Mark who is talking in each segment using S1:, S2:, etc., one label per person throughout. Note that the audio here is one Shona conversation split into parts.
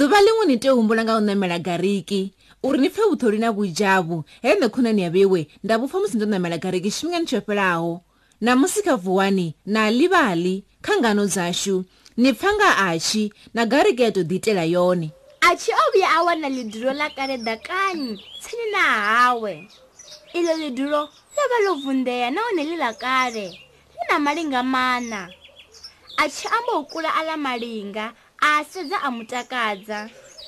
S1: ḓuvha ḽiṅwe ni tea u humbula nga u ṋamela gariki uri ni pfhe vhuṱholi na vhudzhavhu he nṋe khonani ya vheiwe nda vhupfa musi ndo ṋamela gariki tshifhingani tsho fhelaho na musi kha vuwani na ḽivhaḽi kha ngano dzashu ni pfha nga ashi na gariki ya tou ḓiitela yone
S2: a tshi o vhuya a wana ḽidulo ḽa kale ḓakani tsini na hawe iḽo ḽidulo ḽo vha ḽo vunḓea nahone ḽi ḽa kale ḽi na malinga mana a tshi amba u kula aḽa malinga a sedza a mutakadza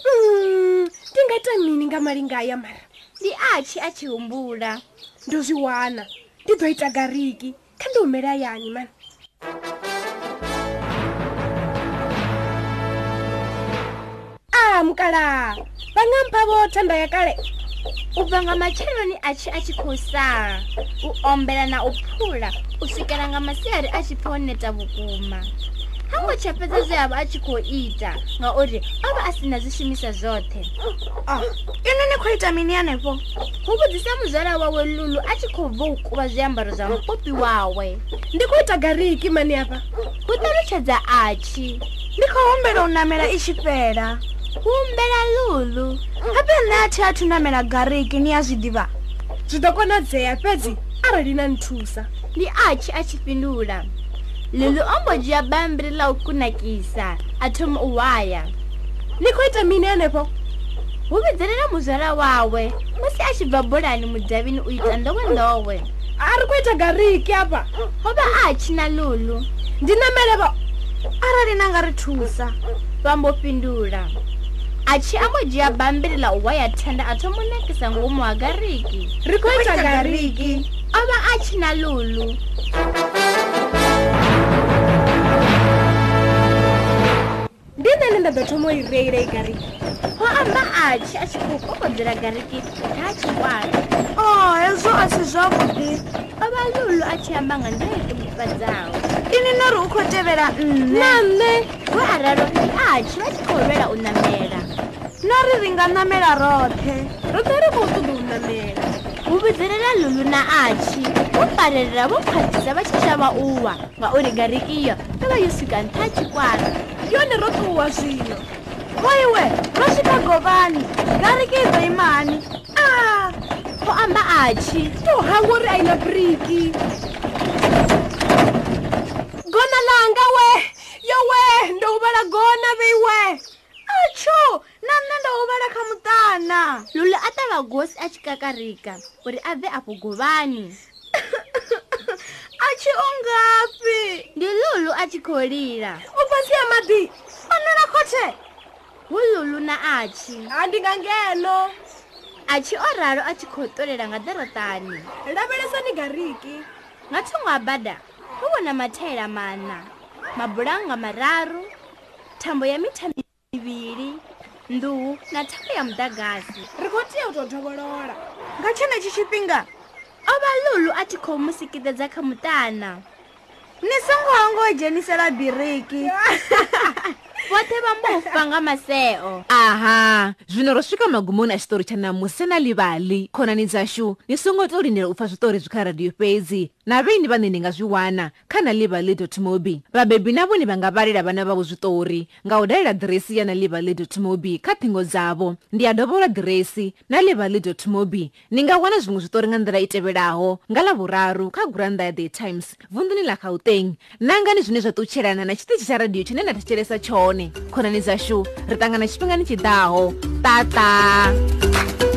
S3: Mm, ndi nga ita mini nga malinga aya mara
S2: ndi a tshi a tshi humbula
S3: ndo zwi wana ndi ḓo ita gariki kha ndi humela hayani mani
S2: Ah,
S3: a mukala vha nga mpha vho thanda ya kale
S2: u bva nga matsheloni a tshi a tshi khou sala u ombela na u phula u swikela nga masiari a tshi pfha o neta vhukuma ha ngo tsha fhedza zwe a vha a tshi khou ita ngauri o vha a si na zwishumiswa zwoṱhe
S3: Ah, ini ni khou ita mini hanefho
S2: hu vhudzisa muzwala wawe lulu a tshi khou bva u kuvha zwiambaro zwa mupopi wawe
S3: ndi khou ita gariki mani hafha
S2: hu ṱalutshedza a tshi
S3: ndi khou humbela u namela i tshi fhela
S2: humbela lulu
S3: habe nṋe a thi athu namela gariki ni a zwi ḓivha zwi ḓo konadzea fhedzi arali na nthusa
S2: ndi atshi a tshi fhindula lulu o mbo dzhia bambiri ḽa u kunakisa a thoma u hwaya
S3: ni khou ita mini hanefho
S2: hu vhidzelela muzwala wawe musi a tshi bva bolani mudavhini u ita nḓowenḓowe
S3: a ri khou ita gariki hafha
S2: ho vha atshi na lulu
S3: ndi namele vho arali na nga ri thusa
S2: vha mbo fhindula atshi a mbo dzhia bambiri ḽa u hwaya thanda a thoma u nakisa ngomu ha gariki
S3: ri khou ita gariki
S2: o vha atshi na lulu
S3: ndi nṋe ne nda ḓo thoma u i reila i gariki
S2: ho amba atshi a tshi khou kokodzela gariki nṱha ha tshigwada
S3: o hezwo a si zwavhuḓi
S2: o vha lulu a tshi amba nga nḓila yo ṱungufhadzaho
S3: ini no ri u khou tevhela nne na nṋe
S2: vho aralo ndi atshi vha tshi khou lwela u ṋamela
S3: no ri ri nga namela roṱhe roṱhe ri khou ṱoḓa u namela
S2: vhuvhidzelela lulu na atshi vho farelela vho khwaṱhisa vha tshi shavha uwa ngauri gariki iyo yo vha yo swika nṱha ha tshikwara
S3: yone ro ṱuwa zwino hoiwe ro swika govhani gariki i ḓo ima hani a
S2: ho amba atshi
S3: to hawa ri a ina briki gona langa we yo we ndo huvhala gona veiwe atsho na nṋe ndo huvhala kha muṱana
S2: lulu a ṱavha gosi a tshi kakarika uri a bve afho govhani
S3: a tshi o ngafhi
S2: ndi lulu a tshi khou lila
S3: u fhasi ya maḓi onela khothe
S2: hu lulu na atshi
S3: a ndi nga ngeno
S2: atshi o ralo a tshi khou ṱolela nga ḓoroṱani
S3: lavhelesani gariki
S2: nga thungo ha bada ho vhona mathaela mana mabulannga mararu thambo ya mitha mivhili nḓuhu na thambo ya muḓagasi
S3: ri khou tea u tou dovholola
S2: nga tshenetshi tshifhinga o vha lulu a tshi khou musikidedza kha muṱana ni songo hango u dzhenisela biriki vhoṱhe vha mbofa nga maseo
S1: aha zwino ro swika magumoni a tshiṱori tsha namusi na ḽivhaḽi khonani dzashu ni songo tou lindela u pfa zwiṱori zwi kha radio fhedzi na vheni vhane ni nga zwi wana kha na ḽivhaḽi mobi vhabebi na vhone vha nga vhalela vhana vhavho zwiṱori nga u dalela ḓiresi ya na ḽivhaḽi mobi kha thingo dzavho ndi a dovhola ḓiresi na ḽivhaḽi mobi ni nga wana zwiṅwe zwiṱori nga nḓila i tevhelaho nga ḽavhuraru kha gurannḓa ya the times vunḓuni ḽa gauteng nangani zwine zwa ṱutshelana na tshiṱitshi tsha radio tshine na thetshelesa tshone khonani dzashu ri ṱangana tshifhingani tshiḓaho tata